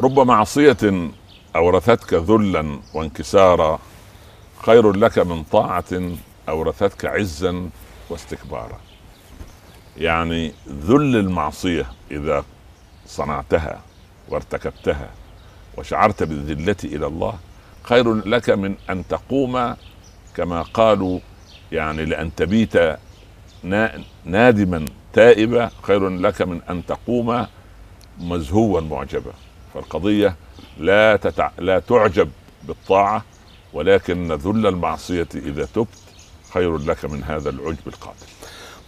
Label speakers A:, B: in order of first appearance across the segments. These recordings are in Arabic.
A: رب معصية أورثتك ذلا وانكسارا خير لك من طاعة أورثتك عزا واستكبارا يعني ذل المعصية إذا صنعتها وارتكبتها وشعرت بالذلة إلى الله خير لك من أن تقوم كما قالوا يعني لأن تبيت نا- نادما تائبا خير لك من أن تقوم مزهوا معجبا فالقضية لا تتع... لا تعجب بالطاعة ولكن ذل المعصية إذا تبت خير لك من هذا العجب القاتل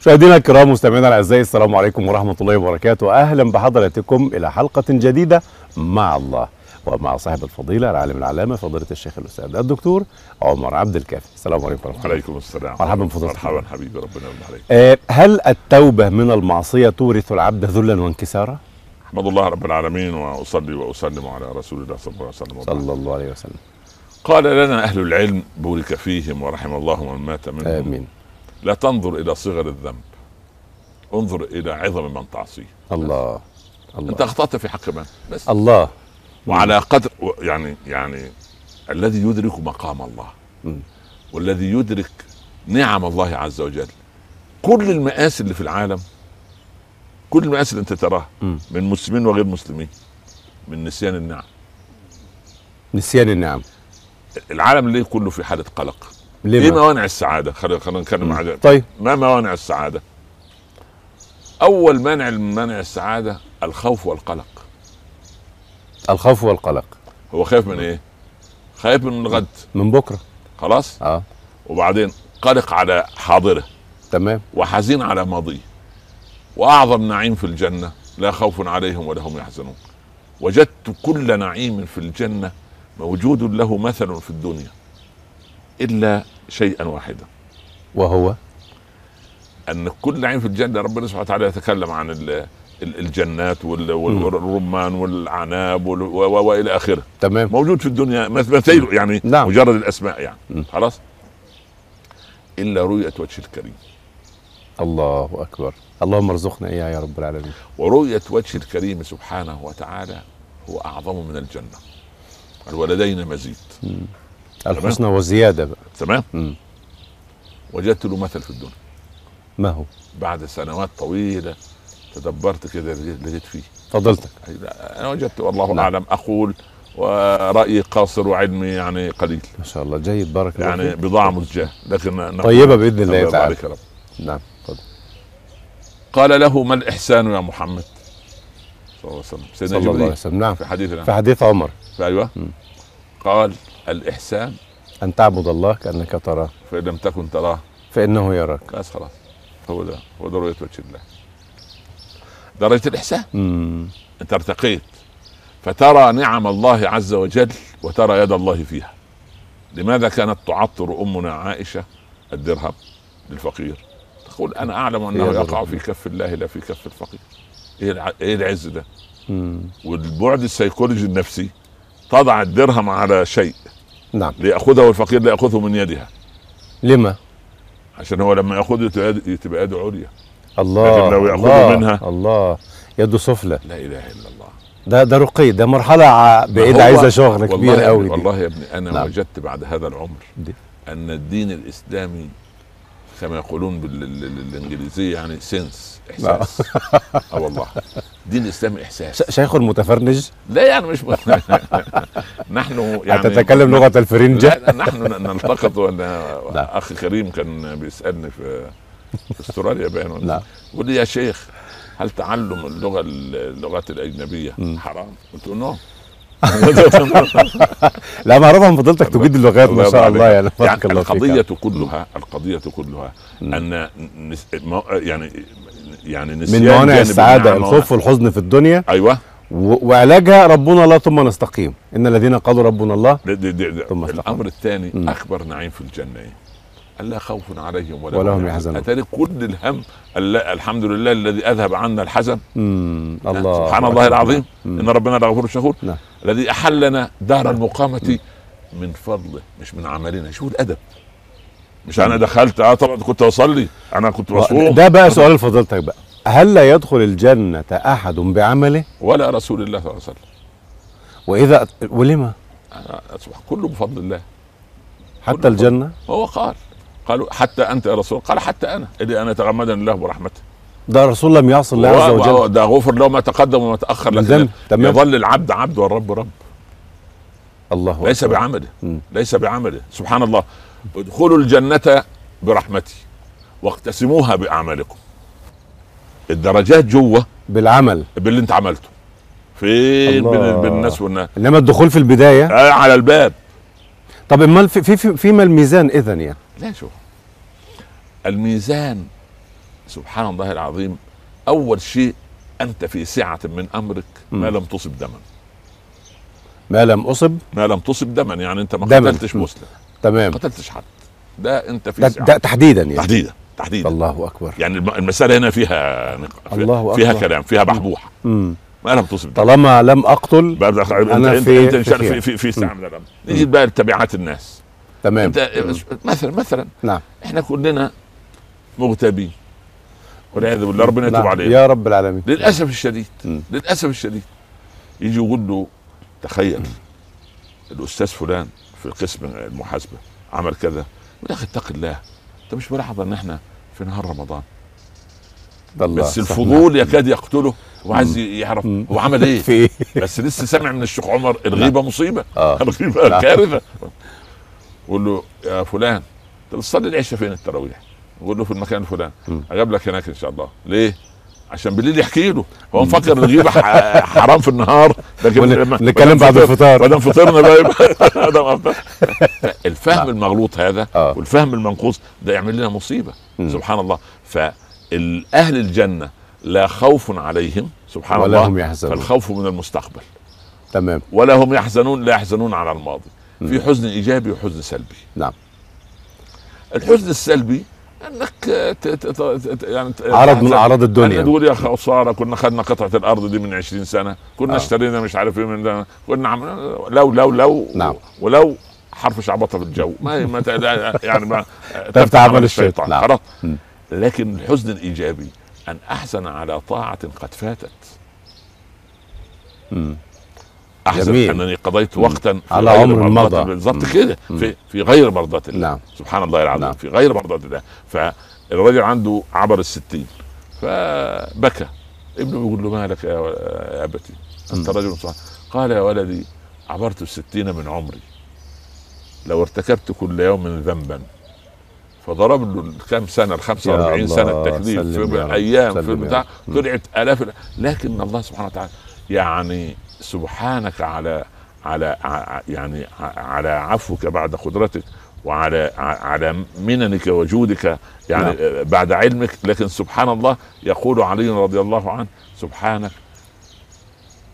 B: مشاهدينا الكرام مستمعينا الاعزاء السلام عليكم ورحمه الله وبركاته اهلا بحضراتكم الى حلقه جديده مع الله ومع صاحب الفضيله العالم العلامه فضيله الشيخ الاستاذ الدكتور عمر عبد الكافي السلام عليكم ورحمه الله
A: عليكم السلام
B: مرحبا بفضيلتك.
A: مرحبا حبيبي ربنا يرضى عليك
B: آه، هل التوبه من المعصيه تورث العبد ذلا وانكسارا
A: احمد الله رب العالمين واصلي واسلم على رسول الله صلى الله عليه وسلم وبعد.
B: صلى الله عليه وسلم
A: قال لنا اهل العلم بورك فيهم ورحم الله من مات منهم
B: امين
A: لا تنظر الى صغر الذنب انظر الى عظم من تعصيه
B: الله الله
A: انت اخطات في حق من بس
B: الله
A: وعلى قدر و- يعني يعني الذي يدرك مقام الله
B: مم.
A: والذي يدرك نعم الله عز وجل كل المآسي اللي في العالم كل المآسي اللي انت تراها
B: مم.
A: من مسلمين وغير مسلمين من نسيان النعم
B: نسيان النعم
A: العالم ليه كله في حالة قلق ايه
B: لما
A: موانع السعادة خلينا خلينا نتكلم عن ده.
B: إيه نعم. طيب
A: ما موانع السعادة اول مانع من مانع السعادة الخوف والقلق
B: الخوف والقلق
A: هو خايف من ايه خايف من الغد
B: من بكره
A: خلاص
B: اه
A: وبعدين قلق على حاضره
B: تمام
A: وحزين على ماضيه واعظم نعيم في الجنه لا خوف عليهم ولا هم يحزنون وجدت كل نعيم في الجنه موجود له مثل في الدنيا الا شيئا واحدا
B: وهو
A: ان كل نعيم في الجنه ربنا سبحانه وتعالى يتكلم عن ال- ال- الجنات وال- وال-
B: مم.
A: والرمان والاعناب وال- و- و- والى اخره
B: تمام
A: موجود في الدنيا مث- مثيله يعني
B: نعم.
A: مجرد الاسماء يعني
B: مم.
A: خلاص الا رؤيه وجه الكريم
B: الله اكبر اللهم ارزقنا اياها يا رب العالمين
A: ورؤية وجه الكريم سبحانه وتعالى هو أعظم من الجنة قال ولدينا مزيد
B: الحسنى وزياده بقى
A: تمام
B: مم.
A: وجدت له مثل في الدنيا
B: ما هو
A: بعد سنوات طويلة تدبرت كده لقيت لقيت فيه
B: فضلتك
A: أي لا، أنا وجدت والله
B: نعم.
A: أعلم أقول ورأيي قاصر وعلمي يعني قليل
B: ما شاء الله جيد بارك الله
A: يعني
B: يعني
A: بضاعة مزجاة لكن نقول-
B: طيبه باذن الله
A: نقول
B: تعالى
A: ذلك يا رب.
B: نعم اتفضل
A: قال له ما الإحسان يا محمد صلى الله عليه وسلم سيدنا
B: صلى الله عليه
A: جبريل
B: وسلم نعم
A: في حديثنا
B: في حديث عمر
A: أيوه
B: مم.
A: قال الإحسان
B: ان تعبد الله كانك تراه
A: فإن لم تكن تراه
B: فانه يراك
A: بس خلاص هو ده هو ده رؤية وجه الله درجة الإحسان
B: امم
A: أنت ارتقيت فترى نعم الله عز وجل وترى يد الله فيها لماذا كانت تعطر أمنا عائشة الدرهم للفقير تقول أنا أعلم أنه
B: يد
A: يقع في
B: ربنا.
A: كف الله لا في كف الفقير إيه الع- إيه العز ده
B: أمم.
A: والبعد السيكولوجي النفسي تضع الدرهم على شيء
B: نعم
A: ليأخذه الفقير لا يأخذه من يدها
B: لما
A: عشان هو لما يأخذه تبقى يد- تبقى يده عليا
B: الله
A: لكن لو يأخذوا
B: الله
A: منها.
B: الله يده سفلى
A: لا إله إلا الله
B: ده ده رقي ده مرحله ع- بعيد
A: هو-
B: عايزه شغل
A: والله
B: كبير
A: يا
B: قوي
A: ابني-
B: دي.
A: والله يا ابني انا
B: نعم.
A: نعم. وجدت بعد هذا العمر
B: دي.
A: ان الدين الاسلامي كما يقولون بال- ال- ال- بالانجليزيه يعني سنس احساس
B: نعم.
A: اه والله الدين الاسلامي احساس
B: ش- شيخ المتفرنج
A: لا يعني مش نحن يعني
B: هتتكلم لغه الفرنجه
A: لا نحن ن- نلتقط
B: نعم.
A: وانا اخي كريم كان بيسالني في في استراليا باين ولا-
B: نعم.
A: يقول لي يا شيخ هل تعلم اللغه اللغات الاجنبيه
B: مم.
A: حرام؟ قلت له نعم
B: لا معروفه من فضيلتك تجيد اللغات ما شاء الله يعني
A: يعني
B: بارك الله فيك
A: القضية كلها القضية كلها
B: مم.
A: أن نس... مو- يعني يعني نسيان
B: من موانع
A: جانب
B: السعاده
A: النعمة
B: الخوف والحزن في الدنيا
A: وأنا- أيوه
B: و- وعلاجها ربنا الله ثم نستقيم ان الذين قالوا ربنا الله
A: دي دي دي دي.
B: ثم
A: الأمر الثاني
B: مم.
A: أكبر نعيم في الجنة إيه؟ ألا خوف عليهم ولا,
B: ولا هم
A: هم
B: يحزنون.
A: أتاري كل الهم ألا الحمد لله الذي أذهب عنا الحزن نعم.
B: امم الله
A: سبحان الله
B: أكبر.
A: العظيم
B: مم.
A: إن ربنا لغفور شكور
B: نعم.
A: الذي أحلنا دار المقامة من فضله مش من عملنا شوف الأدب مش أنا دخلت أه طبعا كنت أصلي أنا كنت مصوم
B: ده بقى سؤال لفضيلتك بقى هل لا يدخل الجنه احد بعمله
A: ولا رسول الله صلى الله عليه وسلم
B: واذا ولما
A: اصبح كله بفضل الله
B: حتى الجنه
A: هو قال قالوا حتى انت يا رسول الله قال حتى انا اللي انا تغمدني الله برحمته
B: ده الرسول لم يعصي الله عز
A: وهو-
B: وجل
A: ده غفر له ما تقدم وما تاخر
B: من
A: لكن
B: ذنب. تمام.
A: يظل العبد عبد والرب رب
B: الله
A: ليس
B: أكبر.
A: بعمله
B: مم.
A: ليس بعمله سبحان الله ادخلوا الجنة برحمتي واقتسموها بأعمالكم الدرجات جوه
B: بالعمل
A: باللي انت عملته فين
B: الله.
A: بين بين الناس والناس
B: انما الدخول في البدايه
A: آه على الباب
B: طب امال في في في فيما الميزان اذا يعني
A: لا شوف الميزان سبحان الله العظيم أول شيء أنت في سعة من أمرك ما
B: مم.
A: لم تصب دما
B: ما لم اصب
A: ما لم تصب دما يعني أنت ما
B: دماً.
A: قتلتش
B: مم.
A: مسلم
B: تمام
A: ما قتلتش حد ده أنت في
B: ده,
A: سعة
B: ده تحديدا يعني
A: تحديدا تحديدا
B: الله اكبر
A: يعني الم- المسألة هنا فيها نقاش
B: الله
A: فيها
B: أكبر.
A: كلام فيها بحبوح
B: مم.
A: ما لم تصب ده.
B: طالما لم اقتل
A: بقى بقى- انت
B: أنا
A: انت
B: في-
A: انت إن شاء الله
B: في-
A: في في في ساعه من الامر نيجي بقى لتبعات الناس
B: تمام
A: انت مثلا مثلا
B: نعم
A: احنا كلنا مغتابين والعياذ بالله ربنا يتوب
B: نعم.
A: علينا
B: يا رب العالمين
A: للاسف الشديد
B: نعم. مم.
A: للاسف الشديد يجي يقول له تخيل الاستاذ فلان في قسم المحاسبه عمل كذا يقول يا اخي اتق الله انت مش ملاحظ ان احنا في نهار رمضان
B: الله
A: بس
B: صح. نعم.
A: الفضول يكاد يقتله هو عايز يعرف هو عمل ايه
B: في ايه
A: بس لسه سامع من الشيخ عمر الغيبه مصيبه
B: آه.
A: الغيبه
B: نعم.
A: كارثه يقول له يا فلان انت بتصلي العشاء فين التراويح؟ يقول له في المكان الفلاني
B: مم.
A: اجيب لك هناك ان شاء الله ليه؟ عشان بالليل يحكي له هو مفكر الغيبه ح- حرام في النهار لكن
B: ون-
A: لما-
B: نتكلم
A: ما دام
B: بعد
A: فطر-
B: الفطار.
A: ما دام فطرنا بقى يبقى ما دام أفطر. الفهم المغلوط هذا
B: آه.
A: والفهم المنقوص ده يعمل لنا مصيبه
B: مم.
A: سبحان الله فاهل الجنه لا خوف عليهم سبحان
B: ولا
A: الله
B: هم يحزنون.
A: فالخوف من المستقبل
B: تمام
A: ولا هم يحزنون لا يحزنون على الماضي في حزن ايجابي وحزن سلبي
B: نعم
A: الحزن السلبي انك ت- ت- ت- ت- يعني ت-
B: عرض من
A: تحزن.
B: اعراض
A: أن
B: الدنيا
A: تقول يا خساره كنا خدنا قطعه الارض دي من 20 سنه كنا
B: آه.
A: آه. اشترينا مش عارف ايه من ده كنا عم... لو لو لو
B: نعم.
A: ولو حرف شعبطه في الجو ما ما ت- لا- يعني ما
B: تفتح عمل الشيطان. نعم.
A: خلاص
B: مم.
A: لكن الحزن الايجابي ان احزن على طاعه قد فاتت
B: مم.
A: احزن
B: جميل.
A: انني قضيت وقتا في
B: على
A: غير
B: عمر
A: مرضاة
B: مضى.
A: بالظبط
B: مم.
A: كده في في غير مرضاة الله
B: نعم.
A: سبحان الله العظيم
B: نعم.
A: في غير مرضاة الله فالراجل عنده عبر الستين فبكى ابنه بيقول له مالك يا يا ابتي انت رجل صالح قال يا ولدي عبرت الستين من عمري لو ارتكبت كل يوم ذنبا فضرب له كم سنه ال
B: يا
A: 45 سنه
B: الله،
A: التكليف
B: سلم
A: في
B: يا رب،
A: ايام
B: سلم
A: في
B: يا
A: بتاع
B: رب.
A: طلعت الاف ال- لكن الله سبحانه وتعالى يعني سبحانك على على ع- يعني ع- على عفوك بعد قدرتك وعلى ع- على مننك وجودك يعني
B: نعم.
A: آه، بعد علمك لكن سبحان الله يقول علي رضي الله عنه سبحانك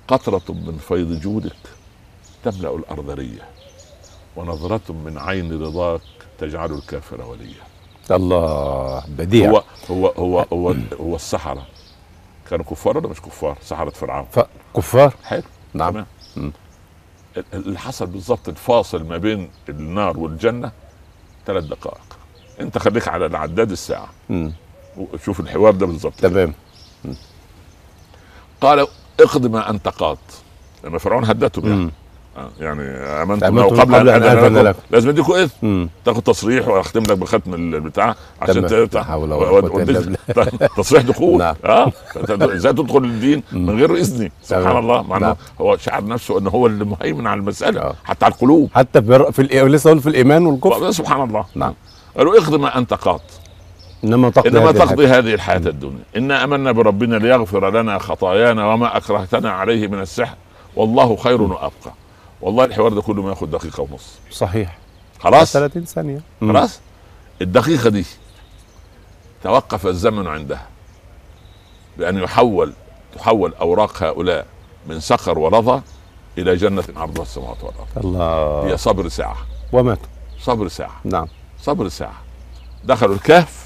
A: قطرة من فيض جودك تملأ الأرض ريا ونظرة من عين رضاك تجعل الكافر وليا
B: الله بديع
A: هو هو هو هو, هو السحرة كانوا كفار ولا مش كفار؟ سحرة فرعون
B: ف... كفار
A: حلو
B: نعم
A: تمام
B: مم.
A: ال- ال- اللي حصل بالظبط الفاصل ما بين النار والجنة ثلاث دقائق انت خليك على العداد الساعة
B: مم.
A: وشوف الحوار ده بالظبط
B: تمام
A: قال اقض ما انت قاض لما فرعون هددهم يعني
B: مم.
A: آه، يعني امنتم
B: آمنتم
A: له قبل ان اذن لكم
B: لكم.
A: لازم اديكم اذن
B: مم.
A: تاخد تصريح واختم لك بختم البتاع عشان
B: تمام.
A: ت-
B: لا حول ولا
A: و-
B: قوة
A: و-
B: إلا
A: وديت- تصريح دخول
B: نعم.
A: اه فت- ازاي تدخل الدين من غير اذني سبحان
B: تمام.
A: الله مع
B: نعم.
A: انه هو شعر نفسه ان هو اللي مهيمن على المساله
B: آه.
A: حتى على القلوب
B: حتى في, الر- في الإ... لسه أقول في الايمان والكفر
A: سبحان الله
B: نعم.
A: قالوا اخذ ما انت قاط
B: انما تقضي
A: انما
B: هذه الحاجة.
A: تقضي هذه الحياه الدنيا انا امنا بربنا ليغفر لنا خطايانا وما اكرهتنا عليه من السحر والله خير وابقى والله الحوار ده كله ما ياخد دقيقه ونص
B: صحيح
A: خلاص
B: 30 ثانيه مم.
A: خلاص الدقيقة دي توقف الزمن عندها بأن يحول تحول أوراق هؤلاء من صخر ولظى إلى جنة عرضها السماوات والأرض هي
B: الله
A: صبر ساعة
B: وماتوا
A: صبر ساعة
B: نعم
A: صبر ساعة دخلوا الكهف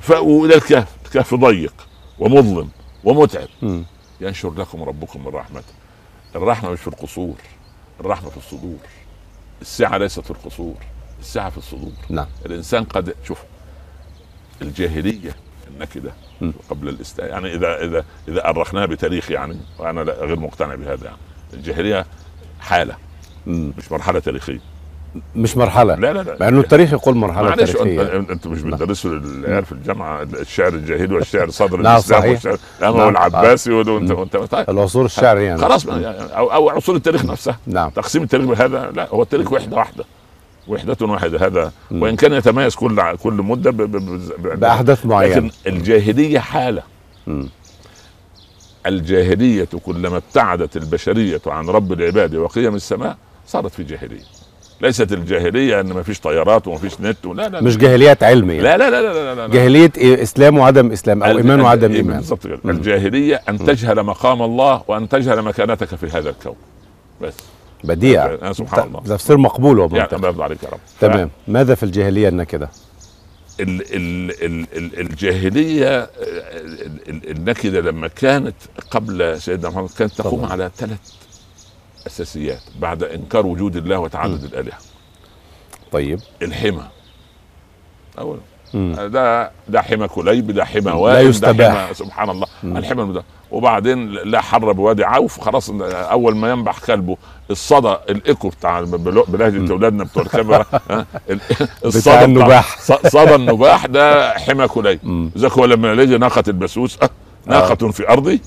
A: فأووا إلى الكهف الكهف ضيق ومظلم ومتعب
B: مم.
A: ينشر لكم ربكم من رحمته الرحمة مش في القصور الرحمة في الصدور السعة ليست في القصور السعة في الصدور
B: نعم
A: الانسان قد شوف الجاهليه النكده
B: م.
A: قبل الاسلام يعني اذا اذا اذا ارخناها بتاريخ يعني وانا لا- غير مقتنع بهذا يعني الجاهليه حاله
B: مم.
A: مش مرحله تاريخيه
B: مش مرحله
A: لا لا لا
B: مع انه التاريخ يقول مرحله
A: معلش
B: تاريخيه
A: انت انت
B: نعم.
A: مش بتدرسوا للعيال في الجامعه الشعر الجاهلي والشعر صدر
B: نعم،
A: الاسلام
B: صحيح.
A: والشعر الاموي
B: نعم.
A: والعباسي وانت وانت طيب
B: العصور الشعريه يعني
A: خلاص ما- او او عصور التاريخ نفسها
B: نعم
A: تقسيم التاريخ هذا لا هو التاريخ وحده واحده وحدة واحدة هذا
B: مم.
A: وإن كان يتميز كل ع- كل مدة ب- ب- ب- ب-
B: باحداث معينه
A: لكن الجاهلية حالة
B: مم.
A: الجاهلية كلما ابتعدت البشرية عن رب العباد وقيم السماء صارت في جاهلية ليست الجاهلية أن ما فيش طيارات وما فيش نت لا لا
B: مش جاهليات علم يعني
A: لا لا لا لا لا, لا, لا.
B: جاهليه إيه اسلام وعدم اسلام او
A: ال-
B: ايمان
A: ال-
B: وعدم
A: إيه
B: ايمان
A: بالظبط كده
B: مم.
A: الجاهلية أن تجهل مقام الله وأن تجهل مكانتك في هذا الكون بس
B: بديع
A: أنا آه، سبحان الله
B: تفسير مقبول
A: يعني
B: ومنطقي
A: الله يرضى عليك يا رب
B: طيب. تمام ماذا في الجاهليه النكده
A: ال ال ال ال الجاهلية آه، ال- ال- النكدة لما كانت قبل سيدنا محمد كانت تقوم
B: طبعاً.
A: على ثلاث أساسيات بعد إنكار وجود الله وتعدد الآلهة
B: طيب
A: الحمى أولا
B: مم.
A: ده ده حمى كليب ده حمى
B: لا
A: وائل
B: يستباح.
A: ده حمى سبحان الله
B: مم.
A: الحمى ده وبعدين لا حر بوادي عوف خلاص اول ما ينبح كلبه الصدى الايكو بتاع بلو- بلهجه اولادنا بتوع الكاميرا ها؟ ال-
B: بتاع
A: الصدى بتاع-
B: النباح
A: ص- صدى النباح ده حمى كليب
B: مم. آه.
A: ذاك هو لما لقي ناقه البسوس أه ناقه في ارضي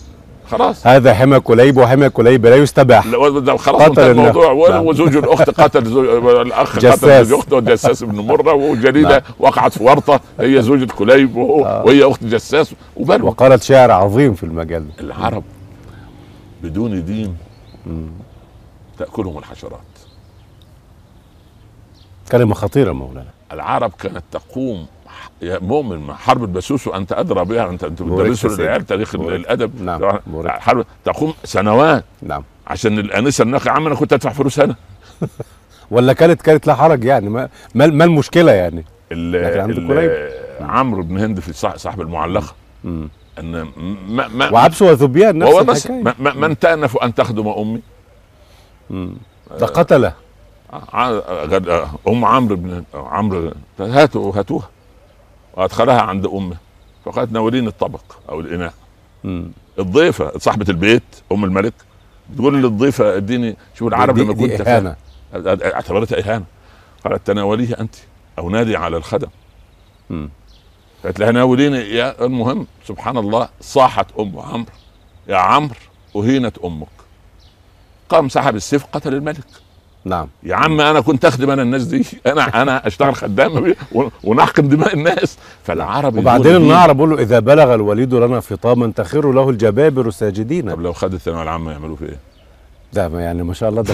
A: خلاص
B: هذا حمى كليب وحمى كليب لا يستباح
A: لا، ده خلاص
B: قتل
A: انتهى الموضوع
B: الناقة.
A: و-
B: نعم.
A: وزوج الاخت قتل زوج الاخ قتل
B: جساس.
A: زوج اخته والجساس ابن مره وجليله
B: نعم. آه.
A: وقعت في ورطه هي زوجة كليب وهو وهي اخت جساس وبلوى
B: وقالت شاعر عظيم في المجال ده
A: العرب بدون دين تاكلهم الحشرات
B: كلمه خطيره مولانا
A: العرب كانت تقوم ح- يا مؤمن مع حرب البسوس وانت ادرى بها انت انت
B: بوركت
A: بتدرسوا
B: يا سيدي.
A: للعيال تاريخ ال-
B: بوركت.
A: الادب
B: نعم، بوركت.
A: حرب تقوم سنوات
B: نعم
A: عشان الانسه الناقه يا عم انا كنت ادفع فلوس انا
B: ولا كانت كانت لا حرج يعني ما ما, ما المشكله يعني
A: ال-
B: لكن عند
A: ال- آه،
B: كليب.
A: عمرو بن هند في صاح- صاحب المعلقه
B: مم.
A: ان ما ما
B: وعبس وذبيان
A: وهو
B: نفس
A: بس ما
B: الحكايه
A: ما من تأنف أن تخدم أمي
B: ده قتله آه.
A: ع- غد- آه، أم عمرو بن آه، عمرو هاتوا هاتوها وأدخلها عند أمه فقالت ناولين الطبق أو الإناء
B: مم.
A: الضيفة صاحبة البيت أم الملك بتقول للضيفة اديني شوف العرب
B: دي-
A: لما
B: دي
A: كنت
B: إهانة.
A: فا- اعتبرتها إهانة قالت تناوليه أنت أو نادي على الخدم
B: مم.
A: قالت لها ناوليني يا المهم سبحان الله صاحت ام عمرو يا عمرو اهينت امك قام سحب السيف قتل الملك
B: نعم
A: يا عم انا كنت اخدم انا الناس دي انا انا اشتغل خدام و- ونحقن دماء الناس فالعرب
B: وبعدين
A: يقولوا دي-
B: النعر بيقول له اذا بلغ الوليد لنا فطاما تخر له الجبابر ساجدين
A: طب لو خد الثانويه العامه يعملوا في ايه؟
B: ده ما يعني ما شاء الله ده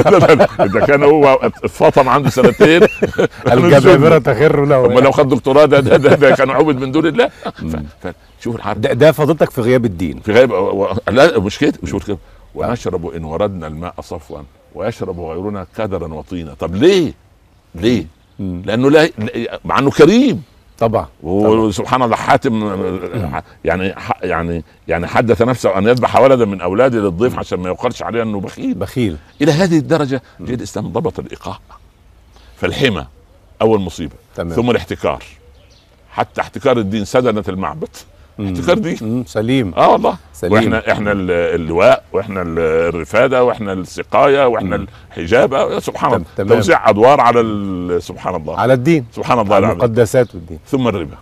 A: لا، لا، لا، ده كان هو اتفطم عنده سنتين
B: الجبابره تخر
A: هم
B: له
A: لو خد دكتوراه ده ده, ده, ده كان عبد من دون الله ف- فشوف العرب
B: ده, ده فضيلتك في غياب الدين
A: في غيب و... و- لا مش كده مش كده ونشرب ان وردنا الماء صفوا ويشرب غيرنا كدرا وطينا طب ليه؟ ليه؟
B: مم.
A: لانه لا لا- مع انه كريم
B: طبعا
A: وسبحان الله حاتم يعني ح- يعني يعني حدث نفسه ان يذبح ولدا من اولاده للضيف عشان ما يقالش عليه انه بخيل
B: بخيل
A: الى هذه الدرجه جاء الاسلام ضبط الايقاع فالحمى اول مصيبه
B: تمام.
A: ثم الاحتكار حتى احتكار الدين سدنت المعبد احتكار دين
B: مم. سليم
A: اه والله
B: سليم.
A: واحنا احنا ال- اللواء واحنا ال- الرفاده واحنا السقايه واحنا الحجابه سبحان
B: تم-
A: الله
B: تمام.
A: توزيع ادوار على ال- سبحان الله
B: على الدين
A: سبحان الله
B: على
A: العظيم
B: المقدسات والدين
A: ثم الربا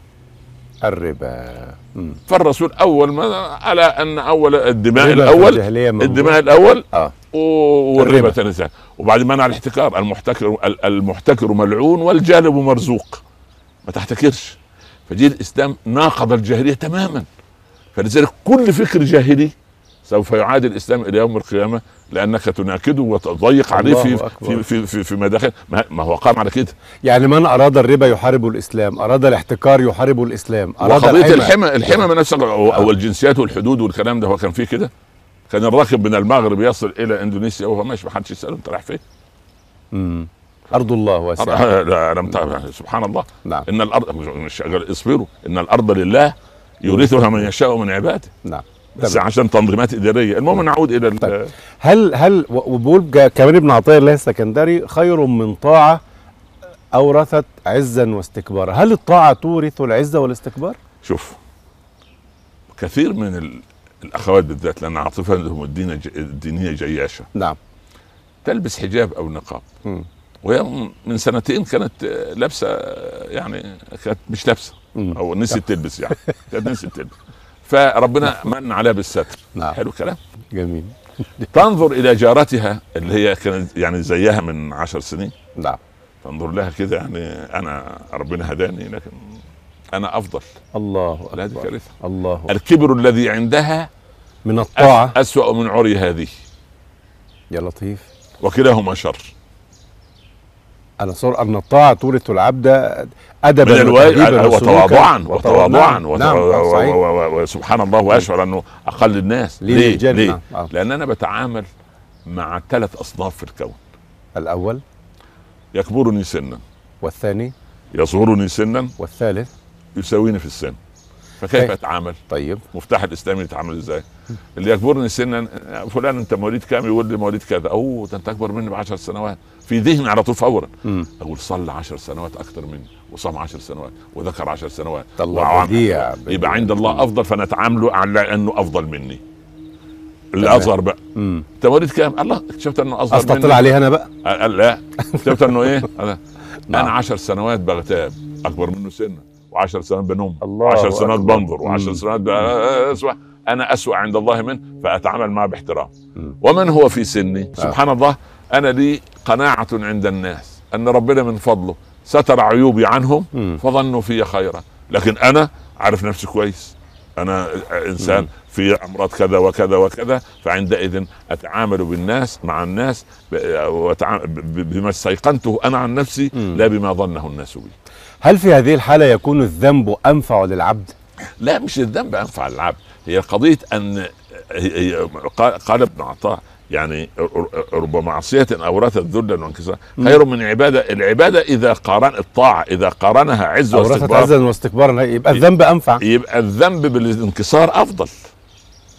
B: الربا مم.
A: فالرسول اول ما الا ان اول الدماء
B: الربا في
A: الاول
B: الجاهلية ممنوع.
A: الدماء الاول
B: اه
A: و- والربا
B: الربا.
A: ثاني ثاني وبعدين منع الاحتكار المحتكر ال- المحتكر ملعون والجالب مرزوق ما تحتكرش فجيل الاسلام ناقض الجاهليه تماما فلذلك كل فكر جاهلي سوف يعاد الاسلام الى يوم القيامه لانك تناكده وتضيق عليه في
B: الله
A: في
B: أكبر.
A: في في, في مداخل ما ما هو قام على كده
B: يعني من اراد الربا يحارب الاسلام اراد الاحتكار يحارب الاسلام اراد
A: وقضيه الحمى الحمى من نفسها أو,
B: آه.
A: او الجنسيات والحدود والكلام ده هو كان فيه كده كان الراكب من المغرب يصل الى اندونيسيا وهو ماشي ما حدش يساله انت رايح فين؟
B: مم. ارض الله واسعه
A: لا، لم تعرف سبحان الله
B: نعم
A: ان الارض مش اصبروا ان الارض لله يورثها من يشاء من عباده
B: نعم
A: بس
B: تمام.
A: عشان تنظيمات اداريه المهم نعود الى ال-
B: طيب. هل هل و- وبيقول جا- كمان ابن عطيه الله السكندري خير من طاعه اورثت عزا واستكبارا هل الطاعه تورث العزه والاستكبار
A: شوف كثير من ال- الاخوات بالذات لان عاطفه لهم الدين الج- الدينيه جياشه
B: نعم
A: تلبس حجاب او نقاب
B: مم.
A: وهي من سنتين كانت آه، لابسه آه، يعني كانت مش لابسه
B: مم. طيب.
A: او نسيت تلبس يعني كانت نسيت تلبس فربنا من عليها بالستر
B: نعم.
A: حلو الكلام
B: جميل
A: تنظر الى جارتها اللي هي كانت يعني زيها من عشر سنين
B: نعم
A: تنظر لها كده يعني انا ربنا هداني لكن انا افضل
B: الله
A: لا دي
B: اكبر
A: كارثه
B: الله أكبر.
A: الكبر الذي عندها
B: من الطاعه
A: أس- اسوا من عري هذه
B: يا لطيف
A: وكلاهما شر
B: انا صور ان الطاعه طولة العبد ادبا
A: من
B: وتأديبا
A: الواجب
B: وسلوكا.
A: وتواضعا
B: وتواضع-
A: وتواضعا
B: نعم,
A: وت-
B: نعم.
A: و-
B: آه،
A: و-
B: صحيح
A: و- و- وسبحان الله واشعر انه اقل الناس
B: ليه
A: ليه؟
B: الجنة.
A: ليه؟
B: آه.
A: لان انا بتعامل مع ثلاث اصناف في الكون
B: الاول
A: يكبرني سنا
B: والثاني
A: يصغرني سنا
B: والثالث
A: يساويني في السن فكيف
B: طيب.
A: اتعامل؟
B: طيب
A: مفتاح الاسلام يتعامل ازاي؟ اللي يكبرني سنا فلان انت مواليد كام؟ يقول لي مواليد كذا، اوه ده انت اكبر مني ب 10 سنوات، في ذهني على طول فورا،
B: مم.
A: اقول صلى 10 سنوات اكثر مني وصام 10 سنوات وذكر 10 سنوات
B: الله
A: وعام-
B: بديع، بديع.
A: يبقى عند الله افضل فنتعامله على انه افضل مني الاصغر بقى
B: امم
A: انت مواليد كام؟ الله اكتشفت انه اصغر
B: استطل
A: مني
B: عليها انا بقى
A: قال- قال لا اكتشفت انه ايه؟ انا
B: نعم.
A: انا 10 سنوات بغتاب اكبر منه سنا و10 سنوات بنم
B: الله
A: و10 سنوات
B: أكبر.
A: بنظر و10
B: مم.
A: سنوات ب- اسوأ انا اسوأ عند الله منه فاتعامل معه باحترام
B: مم. آه.
A: ومن هو في سني سبحان الله انا لي قناعه عند الناس ان ربنا من فضله ستر عيوبي عنهم
B: مم.
A: فظنوا في خيرا لكن انا عارف نفسي كويس انا انسان في امراض كذا وكذا وكذا فعندئذ اتعامل بالناس مع الناس ب- وأتعا- ب- ب- بما استيقنته انا عن نفسي
B: مم.
A: لا بما ظنه الناس بي
B: هل في هذه الحاله يكون الذنب انفع للعبد
A: لا مش الذنب انفع العبد هي قضيه ان هي- هي- قال- قال ابن عطاء يعني ر- رب معصيه اورثت ذلا وانكسارا خير من عباده العباده اذا قارن الطاعه اذا قارنها عز
B: اورثت
A: واستكبار
B: عزا واستكبارا يبقى الذنب انفع
A: يبقى الذنب بالانكسار افضل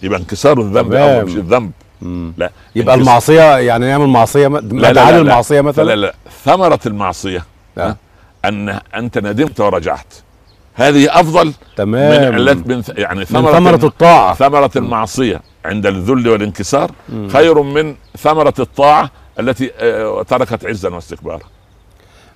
A: يبقى انكسار الذنب
B: تمام.
A: افضل مش الذنب
B: مم.
A: لا
B: يبقى
A: انكسار-
B: المعصيه يعني نعمل معصيه ما-
A: لا، لا،
B: نتعلم
A: لا، لا.
B: المعصيه مثلا
A: لا لا ثمره المعصيه
B: لا.
A: ها؟ ان انت ندمت ورجعت هذه افضل من
B: تمام
A: علات من ث- يعني
B: من
A: ثمره
B: ثمره
A: الم-
B: الطاعه
A: آه. ثمرة المعصية عند الذل والانكسار خير من ثمرة الطاعة التي آه، تركت عزا واستكبارا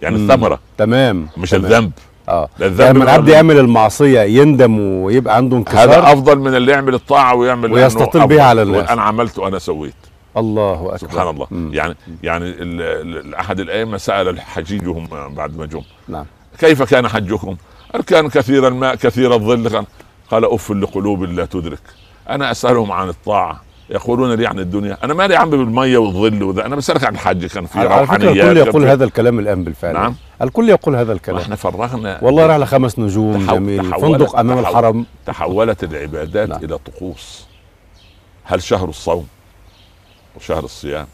A: يعني
B: مم.
A: الثمرة
B: تمام
A: مش
B: تمام.
A: الذنب
B: اه
A: لا الذنب
B: لما العبد
A: ولا-
B: يعمل المعصيه يندم ويبقى عنده
A: هذا
B: انكسار
A: أفضل من اللي يعمل الطاعة ويعمل
B: ويستطيل
A: أنه
B: بها
A: أفضل.
B: على الناس.
A: أنا عملت وأنا سويت
B: الله اكبر
A: سبحان الله
B: مم.
A: يعني يعني ال- ال- أحد الأئمة سأل الحجيجهم بعد ما جم
B: نعم
A: كيف كان حجكم؟ قال كان كثير الماء كثير الظل كان- قال اف لقلوب لا تدرك انا اسالهم عن الطاعه يقولون لي عن الدنيا انا مالي يا عم بالميه والظل وده انا بسالك عن الحج كان في
B: على فكره
A: روحانيات
B: الكل
A: كان
B: يقول
A: في-
B: هذا الكلام الان بالفعل
A: نعم.
B: الكل يقول هذا
A: ما
B: الكلام
A: احنا فرغنا
B: والله رحله خمس نجوم
A: تحول-
B: جميل
A: تحولت-
B: فندق امام
A: تحول-
B: الحرم
A: تحولت العبادات
B: نعم.
A: الى طقوس هل شهر الصوم وشهر الصيام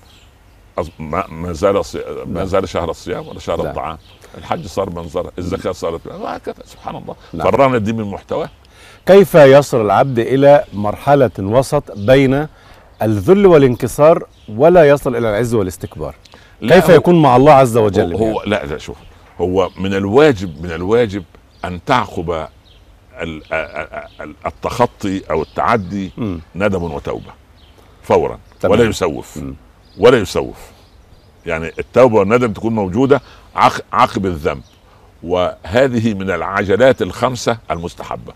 A: أص- ما ما زال صي... ما
B: نعم.
A: زال شهر الصيام ولا شهر
B: نعم.
A: الطعام الحج صار منظره الزكاه صارت وهكذا سبحان الله
B: نعم.
A: فرغنا الدين من محتواه
B: كيف يصل العبد الى مرحله وسط بين الذل والانكسار ولا يصل الى العز والاستكبار
A: لا،
B: كيف
A: هو-
B: يكون مع الله عز وجل يعني
A: هو, هو لا لا شوف هو من الواجب من الواجب ان تعقب ال- ا- ا- ا- التخطي او التعدي
B: مم.
A: ندم وتوبه فورا
B: تمام.
A: ولا يسوف
B: مم.
A: ولا يسوف يعني التوبه والندم تكون موجوده عق- عقب الذنب وهذه من العجلات الخمسه المستحبه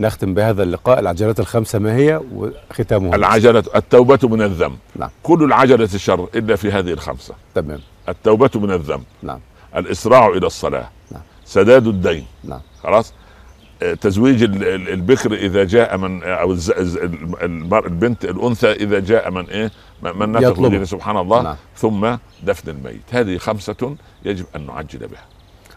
B: نختم بهذا اللقاء العجلات الخمسه ما هي وختامها
A: العجله التوبه من الذنب
B: نعم
A: كل العجله الشر الا في هذه الخمسه
B: تمام
A: التوبه من الذنب
B: نعم
A: الاسراع الى الصلاه
B: نعم.
A: سداد الدين
B: نعم
A: خلاص آه، تزويج ال- ال- البكر اذا جاء من او الز- الز- المرء البنت الانثى اذا جاء من ايه من- من نفق
B: يطلبه.
A: دينه سبحان الله
B: نعم.
A: ثم دفن الميت هذه خمسه يجب ان نعجل بها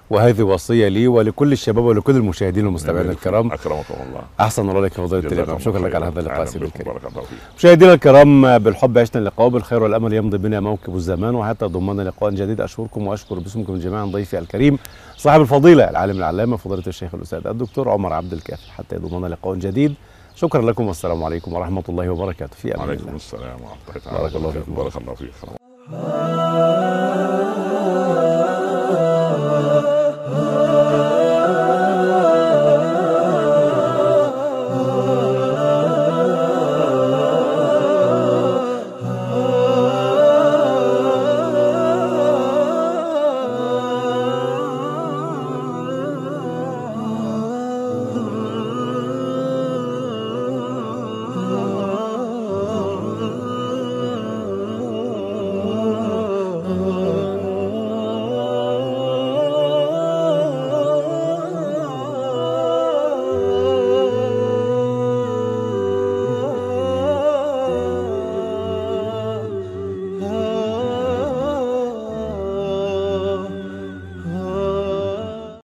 B: وهذه وصيه لي ولكل الشباب ولكل المشاهدين والمستمعين الكرام
A: اكرمكم الله
B: احسن الله لك يا فضيله
A: جزاكم
B: الامام شكرا
A: الله
B: لك على
A: خيراً.
B: هذا اللقاء
A: أهلاً
B: سيدي
A: بكم.
B: الكريم
A: بارك الله فيك
B: مشاهدينا الكرام بالحب عشنا اللقاء بالخير والامل يمضي بنا موكب الزمان وحتى ضمنا لقاء جديد اشكركم واشكر باسمكم جميعا ضيفي الكريم صاحب الفضيله العالم العلامه فضيله الشيخ الاستاذ الدكتور عمر عبد الكافي حتى يضمنا لقاء جديد شكرا لكم والسلام عليكم ورحمه الله وبركاته في امان الله
A: وعليكم السلام ورحمه الله
B: بارك الله فيكم.
A: بارك الله فيك